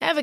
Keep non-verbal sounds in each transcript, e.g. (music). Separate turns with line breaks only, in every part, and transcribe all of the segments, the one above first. Ever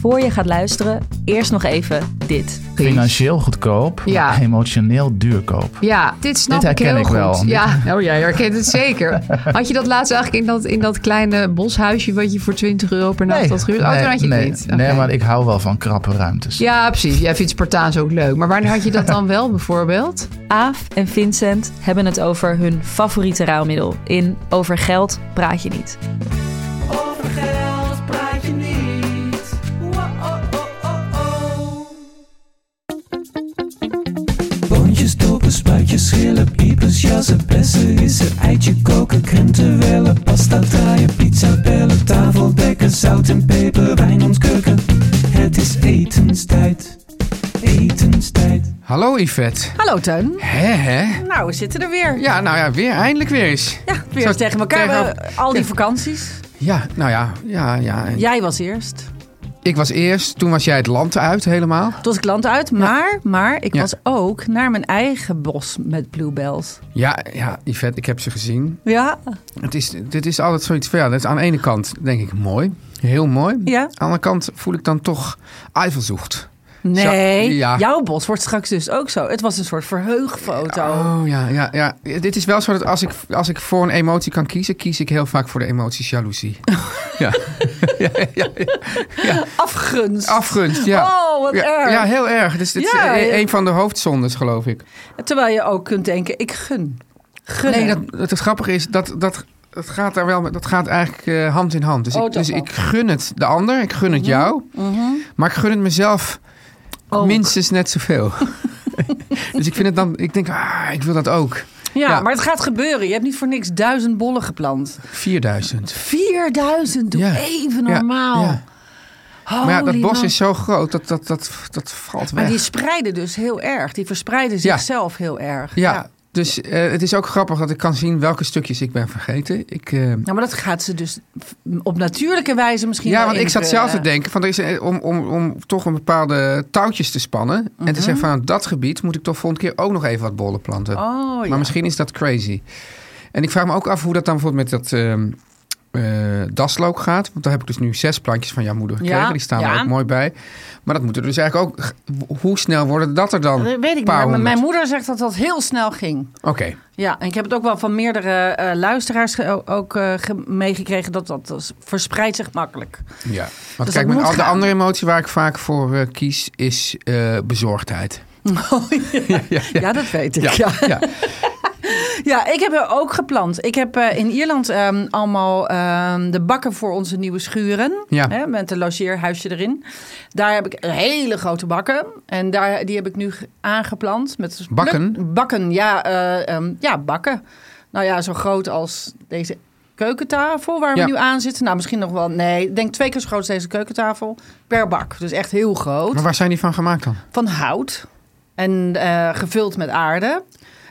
Voor je gaat luisteren, eerst nog even dit.
Financieel goedkoop,
Ja.
maar emotioneel duurkoop.
Ja, dit snap
Dit
ik
herken
heel
ik
goed.
wel. Dit-
Ja, oh, jij herkent het zeker. Had je dat laatst eigenlijk in dat, in dat kleine boshuisje wat je voor 20 euro per nacht had gehuurd? Oh, toen had je het
nee,
niet.
nee,
Oké.
maar ik hou wel van krappe ruimtes.
Ja, precies. Jij vindt Spartaans ook leuk. Maar wanneer had je dat dan wel bijvoorbeeld?
Aaf en Vincent hebben het over hun favoriete ruilmiddel. In Over geld praat je niet.
Boontjes, dopen, spuitjes, schillen, piepers, jassen, bessen, rissen, eitje koken, krenten wellen, pasta draaien, pizza bellen, tafel dekken, zout en peper, wijn ontkurken. Het is etenstijd, etenstijd.
Hallo Yvette.
Hallo Teun.
Hè hè?
Nou, we zitten er weer.
Ja, nou ja, weer, eindelijk weer eens.
Ja, weer
Zo
eens tegen elkaar.
tegenover-
We- al die
Ja.
vakanties.
Ja, nou ja, ja, ja. En
Jij was eerst.
Ik was eerst, toen was jij het land uit helemaal.
Toen was ik land uit, maar, maar ik
Ja.
was ook naar mijn eigen bos met bluebells.
Ja, ja, Yvette, ik heb ze gezien.
Ja,
Het is, dit is altijd zoiets van, ja, dat is aan de ene kant denk ik mooi, heel mooi.
Ja.
Aan de andere kant voel ik dan toch ijvelzocht.
nee.
Zo- ja.
Jouw bos wordt straks dus ook zo. Het was een soort verheugfoto.
Oh ja, ja, ja. Dit is wel zo dat als ik, als ik voor een emotie kan kiezen, kies ik heel vaak voor de emotie
(laughs)
jaloezie. ja. ja, ja, ja.
Afgunst.
Afgunst, ja.
Oh, wat
ja,
erg.
Ja, heel erg. Dus dit
Ja,
is
ja.
e- een van de hoofdzondes, geloof ik.
Terwijl je ook kunt denken, ik gun. Gunnen.
Nee, dat, het, het grappige is, dat, dat, dat gaat daar wel met- dat gaat eigenlijk eh, hand in hand. Dus,
Oh,
ik,
toch
dus
wel. Mhm,
ik gun het de ander, ik gun het jou, maar ik gun het mezelf
Ook.
minstens net zoveel. (laughs) dus ik vind het dan, ik denk, ah, ik wil dat ook.
ja,
ja.
maar het gaat gebeuren. Je hebt niet voor niks duizend bollen geplant.
4000.
4000, doe
Ja.
even
Ja,
normaal.
ja. Maar ja, dat
Holy
bos
man.
is zo groot, dat, dat, dat, dat valt weg.
Maar die spreiden dus heel erg. Die verspreiden
Ja.
zichzelf heel erg.
ja,
ja.
dus eh, het is ook grappig dat ik kan zien welke stukjes ik ben vergeten. Ik, eh,
Nou, maar dat gaat ze dus op natuurlijke wijze misschien
Ja,
wel
want ik zat
invullen.
zelf te denken, van, er is, eh, om, om, om toch een bepaalde touwtjes te spannen.
Mhm.
En te zeggen van nou, dat gebied moet ik toch volgende keer ook nog even wat bollen planten.
Oh, ja.
Maar misschien is dat crazy. En ik vraag me ook af hoe dat dan bijvoorbeeld met dat ehm eh, daslook gaat. Want daar heb ik dus nu zes plantjes van jouw moeder gekregen.
Ja,
Die staan er
ja.
ook mooi bij. Maar dat moet er dus eigenlijk ook... Hoe snel worden dat er dan?
Dat weet ik niet,
Paar
maar
honderd.
mijn moeder zegt dat dat heel snel ging.
Oké.
Ja, en ik heb het ook wel van meerdere eh, luisteraars ge- ook eh, ge- meegekregen... dat dat dat verspreidt zich makkelijk.
Ja. Want
Dus dat
kijk, mijn,
moet
al- de
gaan.
andere emotie waar ik vaak voor eh, kies is eh,
(laughs)
bezorgdheid.
Oh,
(laughs)
Ja, dat weet ik. Ja.
ja.
Ja, ik heb er ook geplant. Ik heb eh, in Ierland ehm, allemaal ehm, de bakken voor onze nieuwe schuren.
Ja.
Hè, met een logeerhuisje erin. Daar heb ik hele grote bakken. En daar, die heb ik nu ge- aangeplant. Met
Bakken?
pluk- bakken, ja. eh, ehm, ja, bakken. Nou ja, zo groot als deze keukentafel waar we
Ja.
nu aan zitten. Nou, misschien nog wel... Nee, ik denk twee keer zo groot als deze keukentafel per bak. Dus echt heel groot
Maar waar zijn die van gemaakt dan?
van hout en eh, gevuld met aarde.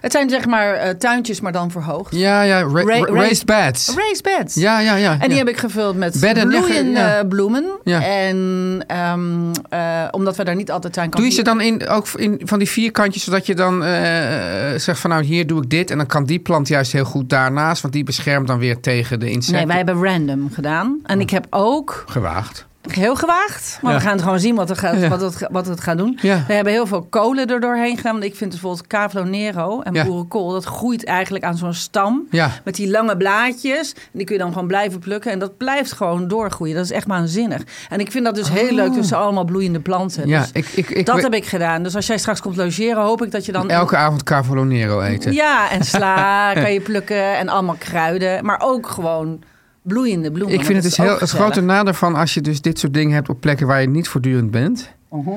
Het zijn zeg maar eh, tuintjes, maar dan verhoogd.
Ja, ja, ra- ra-
raised- Oh,
raised beds.
Raised beds.
ja, ja, ja.
En die
ja.
heb ik gevuld met
Bedden, ja, ge-
bloeiende
ja.
bloemen.
Ja.
En ehm, eh, omdat we daar niet altijd tuin kan
Doe je ze dan in, ook in van die vierkantjes, zodat je dan eh, eh, zegt van nou hier doe ik dit en dan kan die plant juist heel goed daarnaast, want die beschermt dan weer tegen de insecten.
Nee, wij hebben random gedaan. En ik heb ook
Gewaagd.
Heel gewaagd. Maar
Oh. Ja.
we gaan het gewoon zien wat, er gaat,
Ja.
wat, het, ga- wat het gaat doen.
Ja.
We hebben heel veel kolen er doorheen gedaan. Want ik vind bijvoorbeeld Cavolo Nero en
Ja.
boerenkool... dat groeit eigenlijk aan zo'n stam.
Ja.
Met die lange blaadjes. En die kun je dan gewoon blijven plukken. En dat blijft gewoon doorgroeien. Dat is echt waanzinnig. En ik vind dat dus heel leuk tussen allemaal bloeiende planten.
Oh. Ja,
Dus
ik, ik, ik,
dat
we-
heb ik gedaan. Dus als jij straks komt logeren, hoop ik dat je dan...
elke avond Cavolo Nero eten.
Ja, en
(laughs)
sla kan je plukken. En allemaal kruiden. Maar ook gewoon bloeiende bloemen.
Ik
Dat
vind het dus heel,
ook
het
gezellig.
grote nadeel van als je dus dit soort dingen hebt op plekken waar je niet voortdurend bent.
Mhm.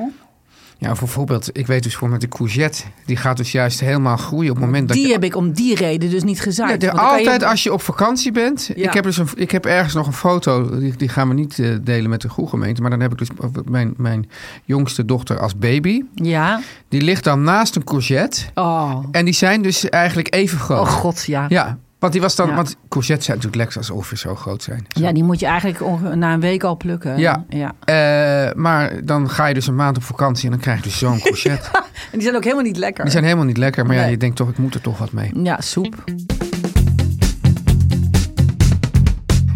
Ja, bijvoorbeeld, ik weet dus voor met de courgette, die gaat dus juist helemaal groeien op het moment dat
Die
je...
heb ik om die reden dus niet gezaaid.
Ja, de-
Want dan kan je-
altijd als je op vakantie bent.
Ja.
Ik, heb dus een, ik heb ergens nog een foto, die, die gaan we niet eh, delen met de groegemeente. Maar dan heb ik dus mijn, mijn jongste dochter als baby.
Ja.
Die ligt dan naast een courgette.
Oh.
En die zijn dus eigenlijk even groot.
Oh god, ja. ja.
Ja, want die was dan.
Ja.
Want courgettes zijn natuurlijk lekker als ongeveer zo groot zijn. Zo.
die moet je eigenlijk onge- na een week al plukken.
Ja.
ja.
Eh, maar dan ga je dus een maand op vakantie en dan krijg je dus zo'n courgette.
(laughs) En die zijn ook helemaal niet lekker.
Die zijn helemaal niet lekker, maar ja,
Nee. Mm.
je denkt toch, ik moet er toch wat mee.
Ja, soep.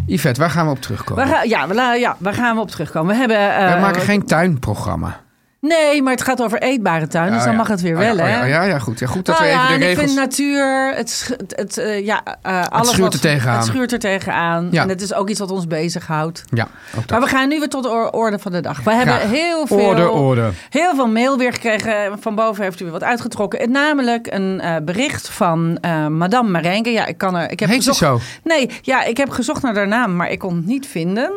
Yvette, waar gaan we op terugkomen?
Waar, ga- ja, we la- ja, waar gaan we op terugkomen? We hebben... eh,
Wij maken geen tuinprogramma.
Nee, maar het gaat over eetbare tuin, dus
Oh,
dan
ja.
mag het weer
Oh, ja,
wel,
oh,
hè?
ja, ja, ja, goed. Ja, goed dat
Nou
we
ja,
even de
en ik
regels...
vind natuur, het, sch- het, het, eh, ja, eh, alles
schuurt
wat-
er tegenaan.
Het schuurt er tegenaan.
Ja.
En het is ook iets wat ons bezighoudt.
Ja, ook dat.
Maar we gaan nu weer tot de or- orde van de dag. We hebben
Graag.
heel veel...
Orde, orde.
Heel veel mail weer gekregen. Van boven heeft u weer wat uitgetrokken. En namelijk een eh, bericht van eh, Madame Marenke. Ja, ik kan er. Ik heb
Heet ze
gezocht,
zo?
Nee, ja, ik heb gezocht naar haar naam, maar ik kon het niet vinden.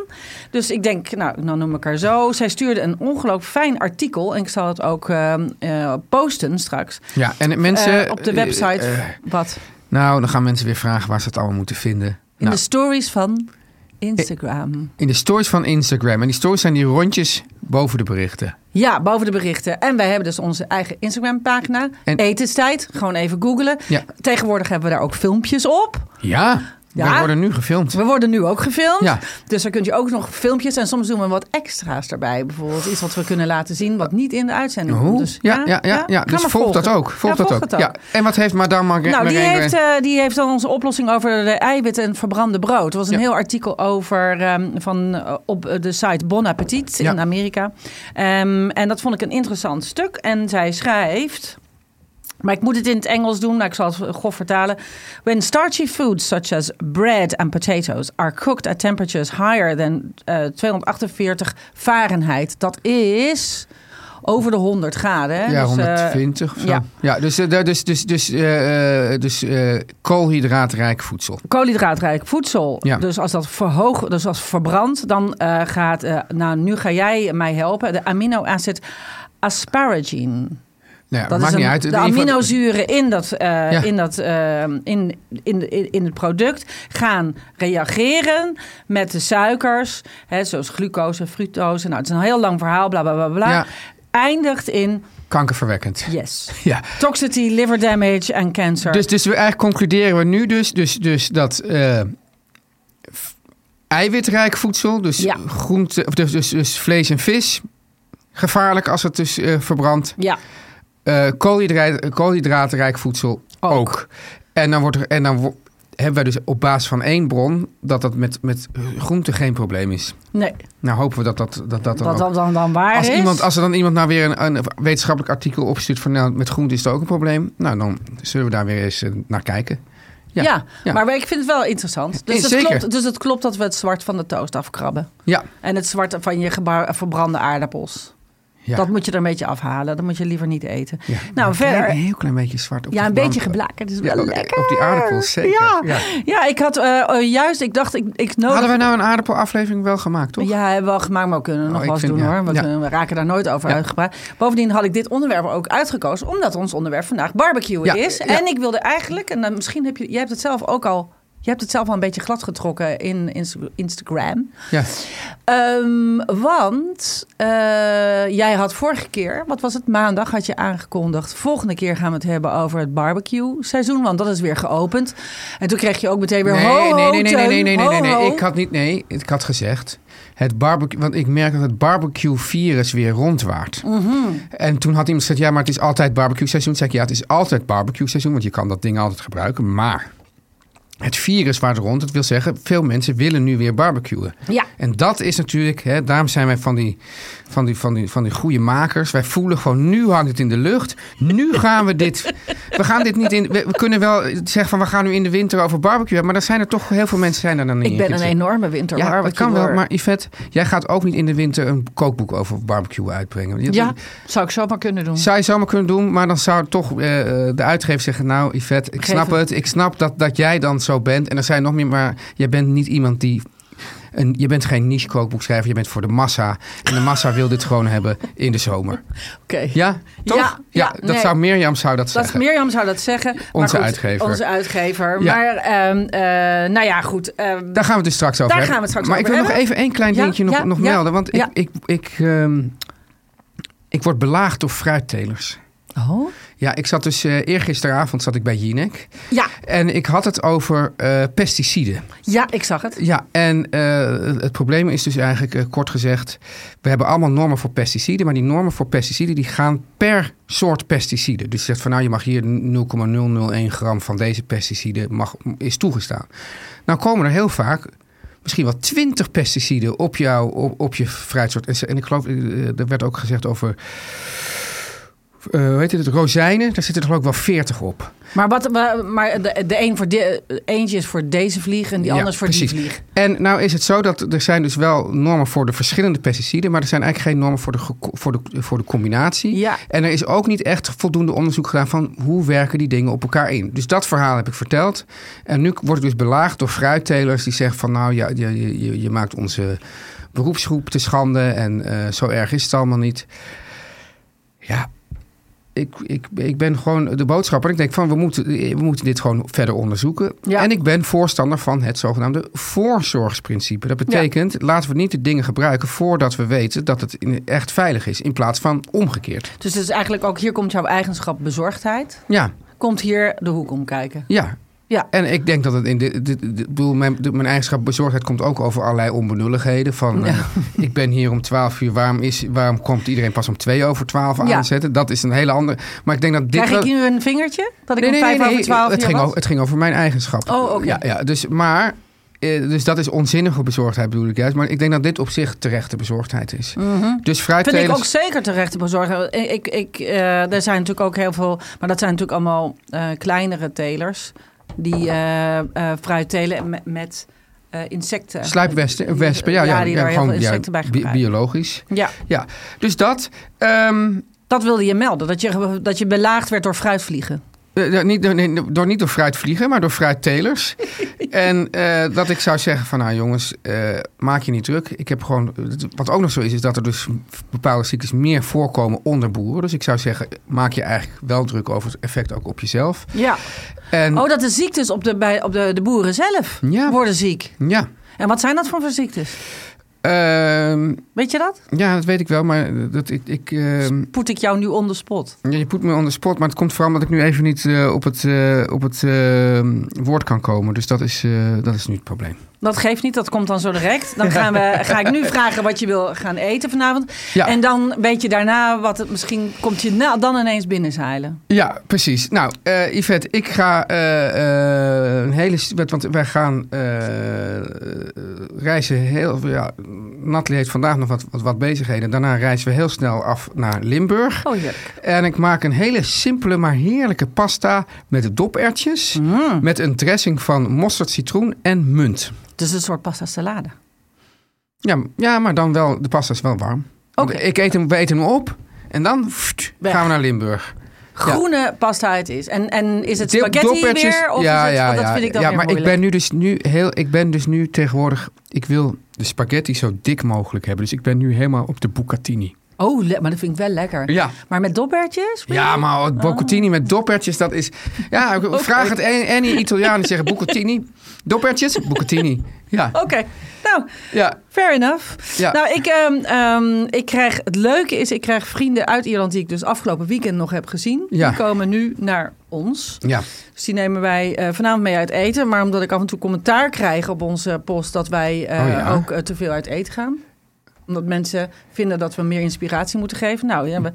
Dus ik denk, nou, dan noem ik haar zo. Zij stuurde een ongelooflijk fijn artikel. En ik zal het ook eh, eh, posten straks.
Ja, en mensen...
Eh, op de
eh,
website.
eh,
wat?
nou, dan gaan mensen weer vragen waar ze het allemaal moeten vinden.
In
Nou,
de stories van Instagram.
in de stories van Instagram. En die stories zijn die rondjes boven de berichten.
Ja, boven de berichten. En wij hebben dus onze eigen Instagram-pagina.
En-
Etenstijd. Gewoon even googlen.
Ja.
Tegenwoordig hebben we daar ook filmpjes op.
Ja,
Ja?
we worden nu gefilmd.
We worden nu ook gefilmd.
Ja.
Dus daar kunt je ook nog filmpjes. En soms doen we wat extra's erbij. Bijvoorbeeld iets wat we kunnen laten zien. wat niet in de uitzending
Hoe?
komt. Dus,
ja, ja, ja, ja.
ga
Dus
maar
volg dat
volgen.
ook. Volg
Ja,
dat ook. Ja. En wat heeft madame Mar
Nou, die
Marengo-
heeft, eh, die heeft dan onze oplossing over de eiwitten en verbrande brood. Er was een
Ja.
heel artikel over ehm, van, eh, op eh, de site Bon Appetit in
Ja.
Amerika. Ehm, en dat vond ik een interessant stuk. En zij schrijft. Maar ik moet het in het Engels doen, nou, ik zal het grof vertalen. When starchy foods such as bread and potatoes are cooked at temperatures higher than eh, 248 Fahrenheit, dat is over de 100 graden. hè?
Ja,
Dus, eh,
120 of zo.
ja.
Ja, dus, eh, daar- dus, dus, dus, eh, eh, dus eh, koolhydraatrijk voedsel.
koolhydraatrijk voedsel.
Ja.
Dus als dat verhoogd, dus als verbrandt, dan eh, gaat. eh, nou, nu ga jij mij helpen. De aminoacid asparagine.
Nou, ja,
Dat
maakt
is
niet
een-
uit.
de
In ieder geval-
aminozuren in, dat, eh,
Ja.
in, dat, eh, in, in, in, in het product gaan reageren met de suikers. Hè, zoals glucose, fructose. Nou, het is een heel lang verhaal, bla bla bla bla.
Ja.
Eindigt in
Kankerverwekkend. (laughs)
yes.
Ja.
Toxicity, liver damage en cancer.
Dus, dus we eigenlijk concluderen we nu dus, dus, dus dat eh, f- eiwitrijk voedsel, dus,
Ja.
groente, of dus, dus, dus vlees en vis, gevaarlijk als het dus eh, verbrandt.
ja.
Eh, koolhydra- koolhydraatrijk voedsel ook. En dan, wordt er, en dan wo- hebben wij dus op basis van één bron dat dat met, met groente geen probleem is.
Nee,
Nou hopen we dat dat, dat, dat
dat
dan ook-
dan, dan, dan waar
als,
is.
iemand, als er dan iemand nou weer een, een wetenschappelijk artikel opstuurt van nou, met groente is het ook een probleem. Nou, dan zullen we daar weer eens eh, naar kijken.
Ja,
Ja, ja.
maar ik vind het wel interessant. Dus,
Eh,
het
zeker.
klopt, dus het klopt dat we het zwart van de toast afkrabben.
Ja,
En het zwart van je geba- verbrande aardappels.
ja.
Dat moet je er een beetje afhalen. Dat moet je liever niet eten.
Ja.
Nou,
Klein- Een
verder.
heel klein beetje zwart. Op
Ja,
de
een
brand-
beetje geblakerd is wel
Ja, ook-
lekker.
Op die aardappels, zeker.
Ja.
Ja.
Ja, ik had eh, eh, juist, ik dacht, ik, ik nodig...
Hadden wij nou een aardappelaflevering wel gemaakt, toch? Oh,
Ja, hebben we al gemaakt, maar we kunnen nog
ik
wel eens
vind-
doen
ja.
hoor. Want
Ja.
we- we raken daar nooit over
Ja.
uitgepraat. Bovendien had ik dit onderwerp ook uitgekozen, omdat ons onderwerp vandaag barbecue
Ja,
is.
ja.
En ik wilde eigenlijk, en dan misschien heb je, jij hebt het zelf ook al, je hebt het zelf al een beetje glad getrokken in Insta- Instagram.
Ja.
Ehm, want eh, jij had vorige keer, wat was het, maandag had je aangekondigd. Volgende keer gaan we het hebben over het barbecue seizoen, want dat is weer geopend. En toen kreeg je ook meteen weer
Nee,
ho, ho,
nee, nee, nee, nee,
Teun,
nee, nee, nee,
ho,
nee, nee.
ho.
Ik had niet, nee, ik had gezegd. Het barbecue, want ik merk dat het barbecue-virus weer rondwaart.
Mhm.
En toen had iemand gezegd, ja, maar het is altijd barbecue-seizoen. Toen zei ik, ja, het is altijd barbecue-seizoen, want je kan dat ding altijd gebruiken. Maar het virus waar rond. Dat wil zeggen, veel mensen willen nu weer barbecuen.
Ja.
En dat is natuurlijk, hè, daarom zijn wij van die, van, die, van, die, van die goede makers. Wij voelen gewoon, nu hangt het in de lucht. Nu gaan we dit, we gaan dit niet in, we, we kunnen wel zeggen van we gaan nu in de winter over barbecue hebben. Maar dan zijn er toch, heel veel mensen zijn er dan niet
Ik ben een
geïnteresseerd.
enorme winter.
Ja, dat kan wel.
barbecuer.
Maar Yvette, jij gaat ook niet in de winter een kookboek over barbecue uitbrengen. Dat-
Ja, zou ik zomaar kunnen doen.
zou je zomaar kunnen doen, maar dan zou toch eh, eh, de uitgever zeggen... nou, Yvette, ik
Geef
snap
hem.
het. Ik snap dat, dat jij dan zo bent. En dan zijn nog meer, maar jij bent niet iemand die... Een, je bent geen niche kookboekschrijver, je bent voor de massa. En de massa wil dit gewoon hebben in de zomer.
Oké.
Ja, toch?
Ja, ja,
dat
nee.
zou Mirjam zou dat
Dat
zeggen.
Mirjam zou dat zeggen. maar
Onze
goed,
uitgever.
Onze uitgever.
Ja.
Maar ehm, eh, nou ja, goed. ehm,
Daar gaan we het dus straks
Daar
over hebben.
gaan we het straks
maar
over
ik wil nog
hebben.
even één klein
Ja,
dingetje nog,
ja,
nog
ja,
melden. Want
ja.
ik, ik, ik, ehm, ik word belaagd door fruittelers.
oh?
Ja, ik zat dus eh eergisteravond zat ik bij Jinek.
Ja,
En ik had het over eh, pesticiden.
ja, ik zag het.
Ja, en eh, het probleem is dus eigenlijk, eh, kort gezegd, we hebben allemaal normen voor pesticiden, maar die normen voor pesticiden die gaan per soort pesticiden. Dus je zegt van nou, je mag hier 0,001 gram van deze pesticiden mag, is toegestaan. Nou komen er heel vaak misschien wel twintig pesticiden op, jou, op, op je fruitsoort. En, ze- en ik geloof, eh, er werd ook gezegd over, eh hoe heet het, rozijnen, daar zitten er geloof ik wel veertig op.
Maar, wat, maar- maar de, de een voor de, eentje is voor deze vlieg en die
Ja,
anders voor
precies.
die vlieg.
En nou is het zo dat er zijn dus wel normen voor de verschillende pesticiden, maar er zijn eigenlijk geen normen voor de, ge- voor de, voor de combinatie.
Ja.
En er is ook niet echt voldoende onderzoek gedaan van hoe werken die dingen op elkaar in. Dus dat verhaal heb ik verteld. En nu word ik dus belaagd door fruittelers die zeggen van nou ja, je, je- je, je maakt onze beroepsgroep te schande en eh, zo erg is het allemaal niet. Ja, ik, ik, ik ben gewoon de boodschapper. Ik denk van we moeten, we moeten dit gewoon verder onderzoeken.
Ja.
En ik ben voorstander van het zogenaamde voorzorgsprincipe. Dat betekent, laten we niet de dingen gebruiken voordat we weten dat het in- echt veilig is. In plaats van omgekeerd.
Dus het is eigenlijk ook, hier komt jouw eigenschap bezorgdheid.
Ja,
Komt hier de hoek om kijken.
ja.
Ja.
En ik denk dat het in de. de, de- de- ik bedoel, mijn, de- mijn eigenschap bezorgdheid komt ook over allerlei onbenulligheden. Van eh, ik ben hier om 12 uur, waarom, is, waarom komt iedereen pas om 2 over 12
Ja.
aanzetten? Dat is een hele andere. Maar ik denk dat dit.
Krijg
wel-
ik nu een vingertje? Dat ik
Nee,
om
nee,
vijf
nee,
over
nee,
twaalf
het
hier
ging,
was?
over, het ging over mijn eigenschap.
Oh, oké.
Ja, ja, dus, maar, eh, dus dat is onzinnige bezorgdheid bedoel ik juist. Maar ik denk dat dit op zich terechte bezorgdheid is.
Mhm.
Dus
Vind ik ook
fruittelers...
zeker terecht te bezorgen. Ik, ik, eh, er zijn natuurlijk ook heel veel, maar dat zijn natuurlijk allemaal eh, kleinere telers. Die eh eh fruit telen met, met eh, insecten.
Sluipwespen, wespen, ja, ja,
die
ja,
daar heel
gewoon
veel insecten bij
ja, bi-
gebruiken.
biologisch.
ja,
Ja, dus dat. ehm,
dat wilde je melden. Dat je, dat je belaagd werd door fruitvliegen.
eh, eh, niet, door- nee, door niet door fruitvliegen, maar door fruittelers. en eh, dat ik zou zeggen van, nou jongens, eh, maak je niet druk. Ik heb gewoon, wat ook nog zo is, is dat er dus bepaalde ziektes meer voorkomen onder boeren. Dus ik zou zeggen, maak je eigenlijk wel druk over het effect ook op jezelf.
Ja.
En
Oh, dat de ziektes op de, bij, op de, de boeren zelf
Ja.
worden ziek.
ja,
En wat zijn dat voor voor ziektes?
ehm,
Weet je dat?
ja, dat weet ik wel, maar dat ik, ik ehm,
Poet ik jou nu on the spot?
ja, je poet me on the spot, maar het komt vooral omdat ik nu even niet eh, op het, eh, op het ehm, woord kan komen. Dus dat is, eh, dat is nu het probleem.
Dat geeft niet, dat komt dan zo direct. Dan gaan we, ga ik nu vragen wat je wil gaan eten vanavond.
Ja.
En dan weet je daarna wat het misschien komt je na, dan ineens binnenzeilen.
Ja, precies. Nou, eh Yvette, ik ga eh, eh, een hele... stu- Want want wij gaan eh, eh, reizen heel... Ja, Natalie heeft vandaag nog wat, wat, wat bezigheden. Daarna reizen we heel snel af naar Limburg.
Oh ja.
En ik maak een hele simpele, maar heerlijke pasta met dopertjes.
Mm.
Met een dressing van mosterd, citroen en munt.
Dus een soort pasta salade.
Ja, m- ja maar dan wel, de pasta is wel warm.
Oké.
Ik eet hem, we eten hem op en dan pfft,
Weg.
gaan we naar Limburg.
Groene pasta het is. En, en is het
Deel-
spaghetti
dopertjes-
weer? Of is het, want dat vind ik dan
ja
weer
maar ik
moeilijk.
ben nu dus nu heel, ik ben dus nu tegenwoordig, ik wil de spaghetti zo dik mogelijk hebben. Dus ik ben nu helemaal op de bucatini.
Oh, le- maar dat vind ik wel lekker.
Ja.
Maar met dopertjes?
Ja, maar het boccottini met dopertjes, dat is... Ja,
Oh,
ik vraag het an- any Italiaan die zeggen boccottini. Dopertjes? Boccottini. Ja,
Oké, nou,
ja,
fair enough.
Ja.
Nou, ik, ehm, ehm, ik krijg, het leuke is, ik krijg vrienden uit Ierland die ik dus afgelopen weekend nog heb gezien.
Ja.
Die komen nu naar ons.
ja.
Dus die nemen wij eh, vanavond mee uit eten. Maar omdat ik af en toe commentaar krijg op onze post dat wij eh,
Oh ja.
ook eh, te veel uit eten gaan. Omdat mensen vinden dat we meer inspiratie moeten geven. Nou, ja, we-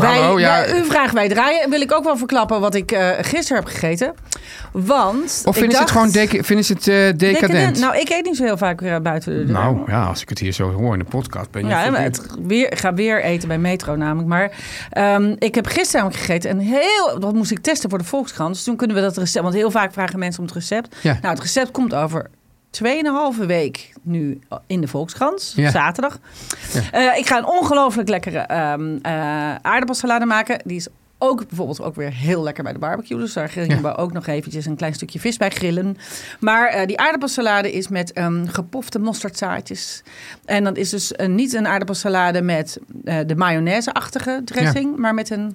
wij,
Hallo, oh ja.
wij- uw vraag wij draaien. Wil ik ook wel verklappen wat ik eh, gisteren heb gegeten. Want
Of
ik
vinden ze het
dacht-
gewoon dec- vinden ze het, eh, decadent?
Nou, ik eet niet zo heel vaak eh, buiten de deur.
Nou ja, als ik het hier zo hoor in de podcast ben je...
Ja, maar
verkeerd.
het weer, ik ga weer eten bij Metro namelijk. Maar ehm, ik heb gisteren namelijk gegeten en heel... Dat moest ik testen voor de Volkskrant. Dus toen kunnen we dat recept... Want heel vaak vragen mensen om het recept.
Ja.
Nou, het recept komt over 2,5 week nu in de Volkskrant.
Ja.
Zaterdag. Eh, ik ga een ongelooflijk lekkere ehm eh, aardappelsalade maken. Die is ook bijvoorbeeld ook weer heel lekker bij de barbecue. Dus daar grillen
Ja.
we ook nog eventjes een klein stukje vis bij grillen. Maar eh, die aardappelsalade is met ehm, gepofte mosterdzaadjes. En dat is dus eh, niet een aardappelsalade met eh, de mayonaise-achtige dressing. Maar met een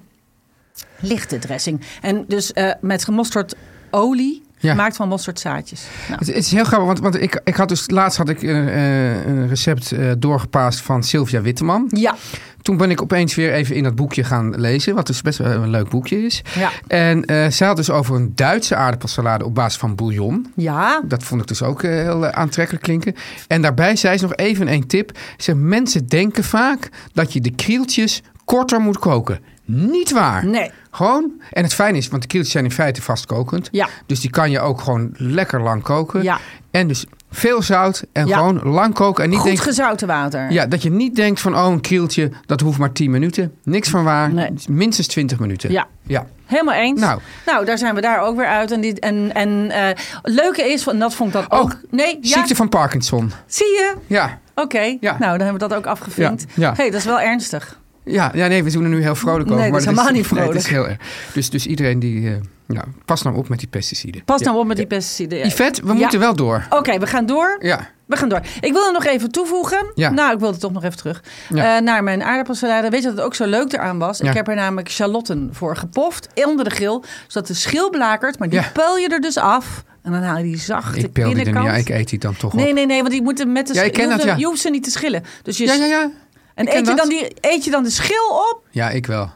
lichte dressing. En dus eh, met mostardolie
Ja.
gemaakt van mosterdzaadjes. Nou.
Het, het is heel grappig, want, want ik, ik had dus laatst had ik een, eh, een recept eh, doorgepaast van Sylvia Witteman.
Ja,
Toen ben ik opeens weer even in dat boekje gaan lezen, wat dus best wel een leuk boekje is.
ja,
En eh zij had dus over een Duitse aardappelsalade op basis van bouillon.
ja.
Dat vond ik dus ook eh, heel eh, aantrekkelijk klinken. En daarbij zei ze nog even een tip. Ze mensen denken vaak dat je de krieltjes korter moet koken. Niet waar.
Nee.
Gewoon. En het fijn is, want de krieltjes zijn in feite vastkokend.
Ja.
Dus die kan je ook gewoon lekker lang koken.
Ja.
En dus veel zout en
Ja.
gewoon lang koken. En niet
Goed
denken-
gezouten water.
ja, dat je niet denkt van, oh, een krieltje, dat hoeft maar 10 minuten. Niks van waar. Dus
Nee.
Minstens 20 minuten.
Ja.
ja.
Helemaal eens.
Nou.
Nou. daar zijn we daar ook weer uit. En, die, en, en eh, het leuke is, en dat vond ik dat
Oh,
ook... Nee, ja,
Ziekte van Parkinson.
zie je?
Ja.
Oké,
Ja.
nou, dan hebben we dat ook afgevinkt.
Ja, ja.
hey, dat is wel ernstig.
Ja, ja, nee, we doen er nu heel vrolijk
Nee,
over.
dat is
maar
helemaal niet
(laughs) nee, het
vrolijk.
is heel erg. Dus, dus iedereen die... eh, nou, pas nou op met die pesticiden.
Pas
Ja.
nou op met die pesticiden. Ja.
Yvette, we
Ja.
moeten wel door.
Oké, we gaan door.
Ja.
We gaan door. Ik wil er nog even toevoegen.
Ja.
Nou, ik wilde toch nog even terug.
Ja.
Eh, naar mijn aardappelsalade. Weet je wat het ook zo leuk eraan was?
Ja.
Ik heb er namelijk shallotten voor gepoft. Onder de grill. Zodat de schil blakert. Maar die
Ja.
pel je er dus af. En dan haal je die zachte
Ik peel die er
binnenkant.
niet. Ja, ik eet die dan toch
Nee,
op.
nee, nee, want die moeten met de
Ja, ik
schil-
ken
je hoeft
dat,
ze-
ja.
Je hoeft ze niet te schillen. Dus je,
Ja, ja, ja.
En
ik
eet
ken
je,
dat.
dan die, eet je dan de schil op?
Ja, ik wel.